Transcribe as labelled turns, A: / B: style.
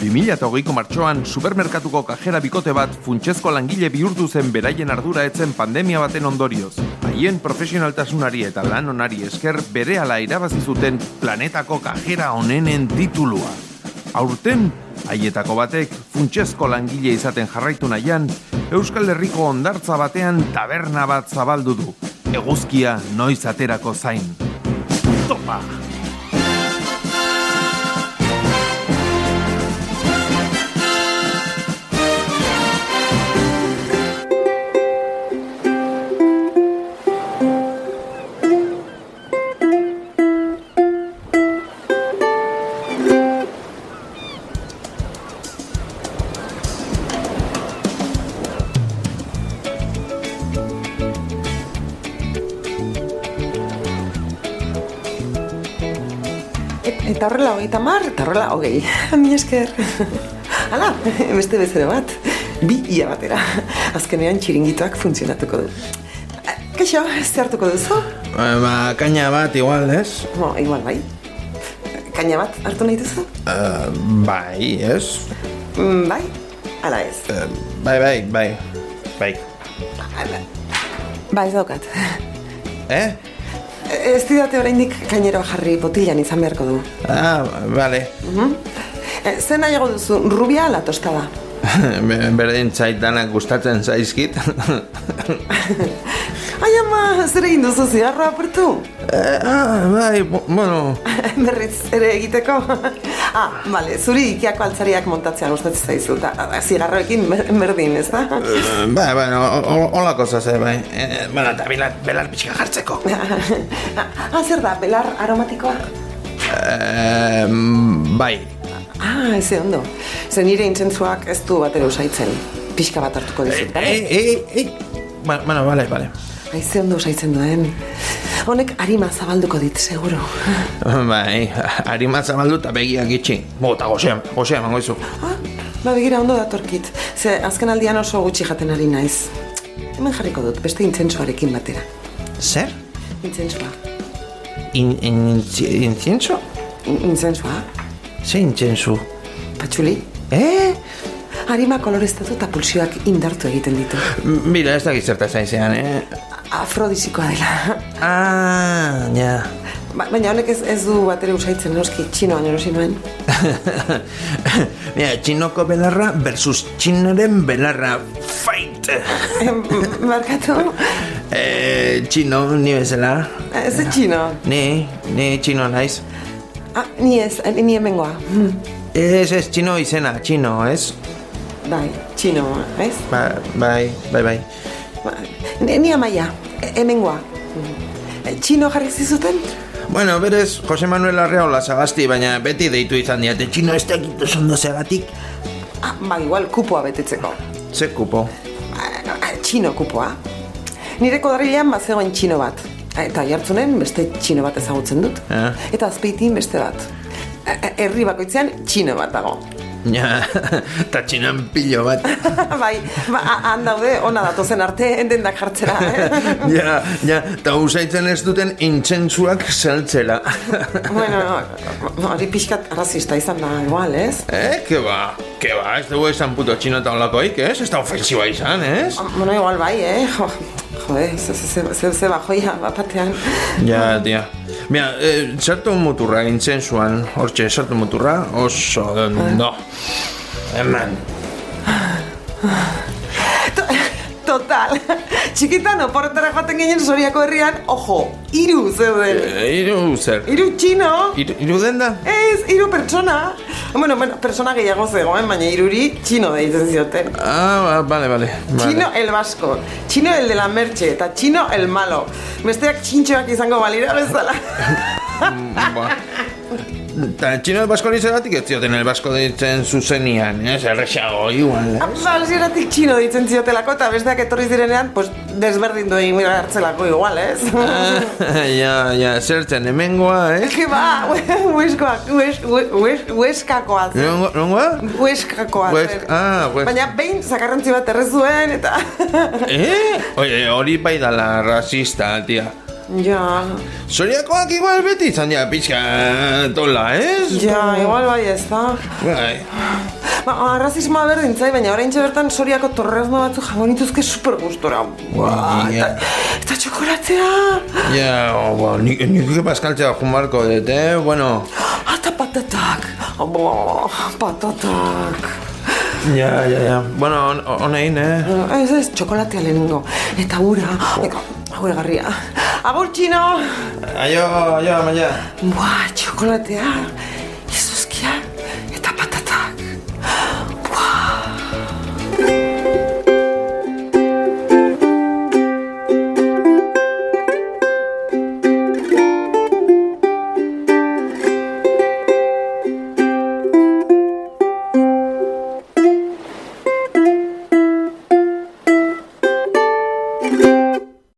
A: 2008ko martxoan supermerkatuko kajera bikote bat funtsezko langile bihurtu zen beraien ardura etzen pandemia baten ondorioz. Haien profesionaltasunari eta lan onari esker berehala irabazi zuten planetako kajera onenen titulua. Aurten, haietako batek funtsezko langile izaten jarraitu nahian, Euskal Herriko ondartza batean taberna bat zabaldu du. Eguzkia noiz aterako zain. Topa!
B: Eta horrela hogeita mar, eta horrela hogei. Mi esker. Hala, beste bezero bat. Bi ia batera. Azkenean txiringitoak funtzionatuko du. Eh, Kaixo, ze hartuko duzu?
C: Eh, Ba, kaina bat igual, ez?
B: Bo, igual bai. Kaina bat hartu nahi duzu?
C: Eh, bai, ez?
B: Mm, bai, ala ez.
C: Eh, bai, bai, bai. Bai.
B: Ala. Ba, ez daukat.
C: Eh?
B: Ez didate oraindik kainero jarri botilan izan beharko du.
C: Ah, bale.
B: Mhm. Eh, Ze nahiago duzu, rubia ala tostada?
C: Be- Berdin zait danak gustatzen zaizkit. Eh,
B: Ai ama, zer egin duzu zigarroa apurtu?
C: Eh, ah, bai, bu- bueno,
B: Berriz ere egiteko? ah, bale, zuri ikiako altzariak montatzea gustatzen zaizu, eta a, zigarroekin ber- berdin, ez da?
C: eh, bai, bai, no, hol- holako zaze, bai. Eh, bueno, eta belar, belar pixka jartzeko.
B: ah, zer da, belar aromatikoa?
C: Eh, mm, bai,
B: Ah, ez ondo. Ze nire intentzuak ez du batera usaitzen. Pixka bat hartuko dizut, bale?
C: Eh, eh, eh, ba- bueno, bale, bale.
B: Aize ondo usaitzen duen. Honek harima zabalduko dit, seguro.
C: Bai, harima zabaldu eta begiak itxi. Bota, gozea, gozea emango izu.
B: Ah, ba, begira ondo datorkit. Ze azken aldian oso gutxi jaten ari naiz. Hemen jarriko dut, beste intzentsuarekin batera.
C: Zer?
B: Intzentsua.
C: In, in, intzientzu?
B: In- Intzentsua.
C: Ze intzientzu?
B: Patxuli.
C: Eh?
B: Harima koloreztatu eta pulsioak indartu egiten ditu.
C: Mira, ez dakit zerta zaizean, eh?
B: Afrodisikoa dela.
C: Ah, ja.
B: Ba, baina honek ez, ez du batera usaitzen noski txinoan erosi nuen.
C: Mira, txinoko belarra versus txinoren belarra. Fight!
B: Em, Barkatu?
C: Eh, txino, ni bezala.
B: Ez da txino.
C: Ni, ni txino naiz.
B: Ah, ni ez, ni hemengoa.
C: Ez, ez, txino izena, txino, ez?
B: Bai, txino, ez?
C: Ba, bai, bai, bai.
B: Ba, Ni, ni amaia, e- hemengoa. E, Txino jarri zizuten?
C: Bueno, berez, Jose Manuel Arreola zagazti, baina beti deitu izan diate txino ez dakit oso ondo zegatik.
B: Ah, ba, igual kupoa betetzeko.
C: Ze kupo.
B: Ah, ah, Txino kupoa. Nire kodarilean bazegoen txino bat. Ah, Eta jartzunen beste txino bat ezagutzen dut.
C: Ah.
B: Eta azpeitin beste bat. Eh, Herri bakoitzean txino bat dago.
C: Ja, eta txinan pilo bat.
B: bai, ba, a- han daude, ona datozen arte, dendak jartzera. Eh?
C: Ja, ja, eta usaitzen ez duten intzentzuak zeltzela.
B: bueno, hori pixkat arrazista izan da, igual, ez?
C: eh, que ba, que ba, ez dugu esan puto txino eta olakoik, ez? Ez da ofensiba izan, ez?
B: Bueno, igual bai, eh? Jo, jode, ze, ze, ze, ze, ze bajoia, bat batean.
C: Ja, tia. Mira, eh, sartu muturra intzentzuan, hortxe, sartu muturra, oso, no. Eman.
B: Total, txikitan oporretara joaten ginen zoriako herrian, ojo, hiru zeuden.
C: Eh, Iru zer.
B: Hiru txino,
C: Iru, iru denda?
B: ez, hiru pertsona. Bueno, bueno, persona gehiago zegoen, baina hiruri txino deitzen zioten.
C: Ah, ba- vale, vale. vale.
B: Chino el vasco, chino el de la merche, eta chino el malo. Besteak txintxoak izango balira bezala.
C: Ba. Ta txino baskori zeratik ez zioten el basko ditzen zuzenian, ez? Errexago, igual, eh?
B: Balsieratik Ba, txino deitzen ziotelako eta besteak etorri zirenean, pues, desberdin duen hartzelako igual, ez?
C: Ah, ja, ja, zertzen, hemengoa, eh?
B: Ke ba, hueskoak, hues- hue- hues- hueskakoa zen.
C: Nongo- Nongoa?
B: Hueskakoa zen.
C: Hues- ah, hues-
B: Baina behin zakarrantzi bat errezuen eta...
C: Eh? Oie, hori bai dala rasista, tia.
B: ja,
C: Zoriakoak igual beti izan dira pixka tola, ez?
B: ja, igual bai ez da.
C: Bai.
B: Ba, arrazismoa berdin zai, baina orain bertan soriako torrezno batzu jango nituzke super gustora. Ua,
C: Ja.
B: eta, eta txokolatea,
C: Ja, o, ba, nik, nik paskaltzea jumarko dut, eh? Bueno,
B: Ah, eta patatak, Bo, patatak.
C: ja, ja, ja. Bueno, on- honein, eh?
B: Ez ez, txokolatea lehenengo, eta ura, eko, ura garria. Agur, txino!
C: Aio, aio, amaia.
B: Buah, txokolatea,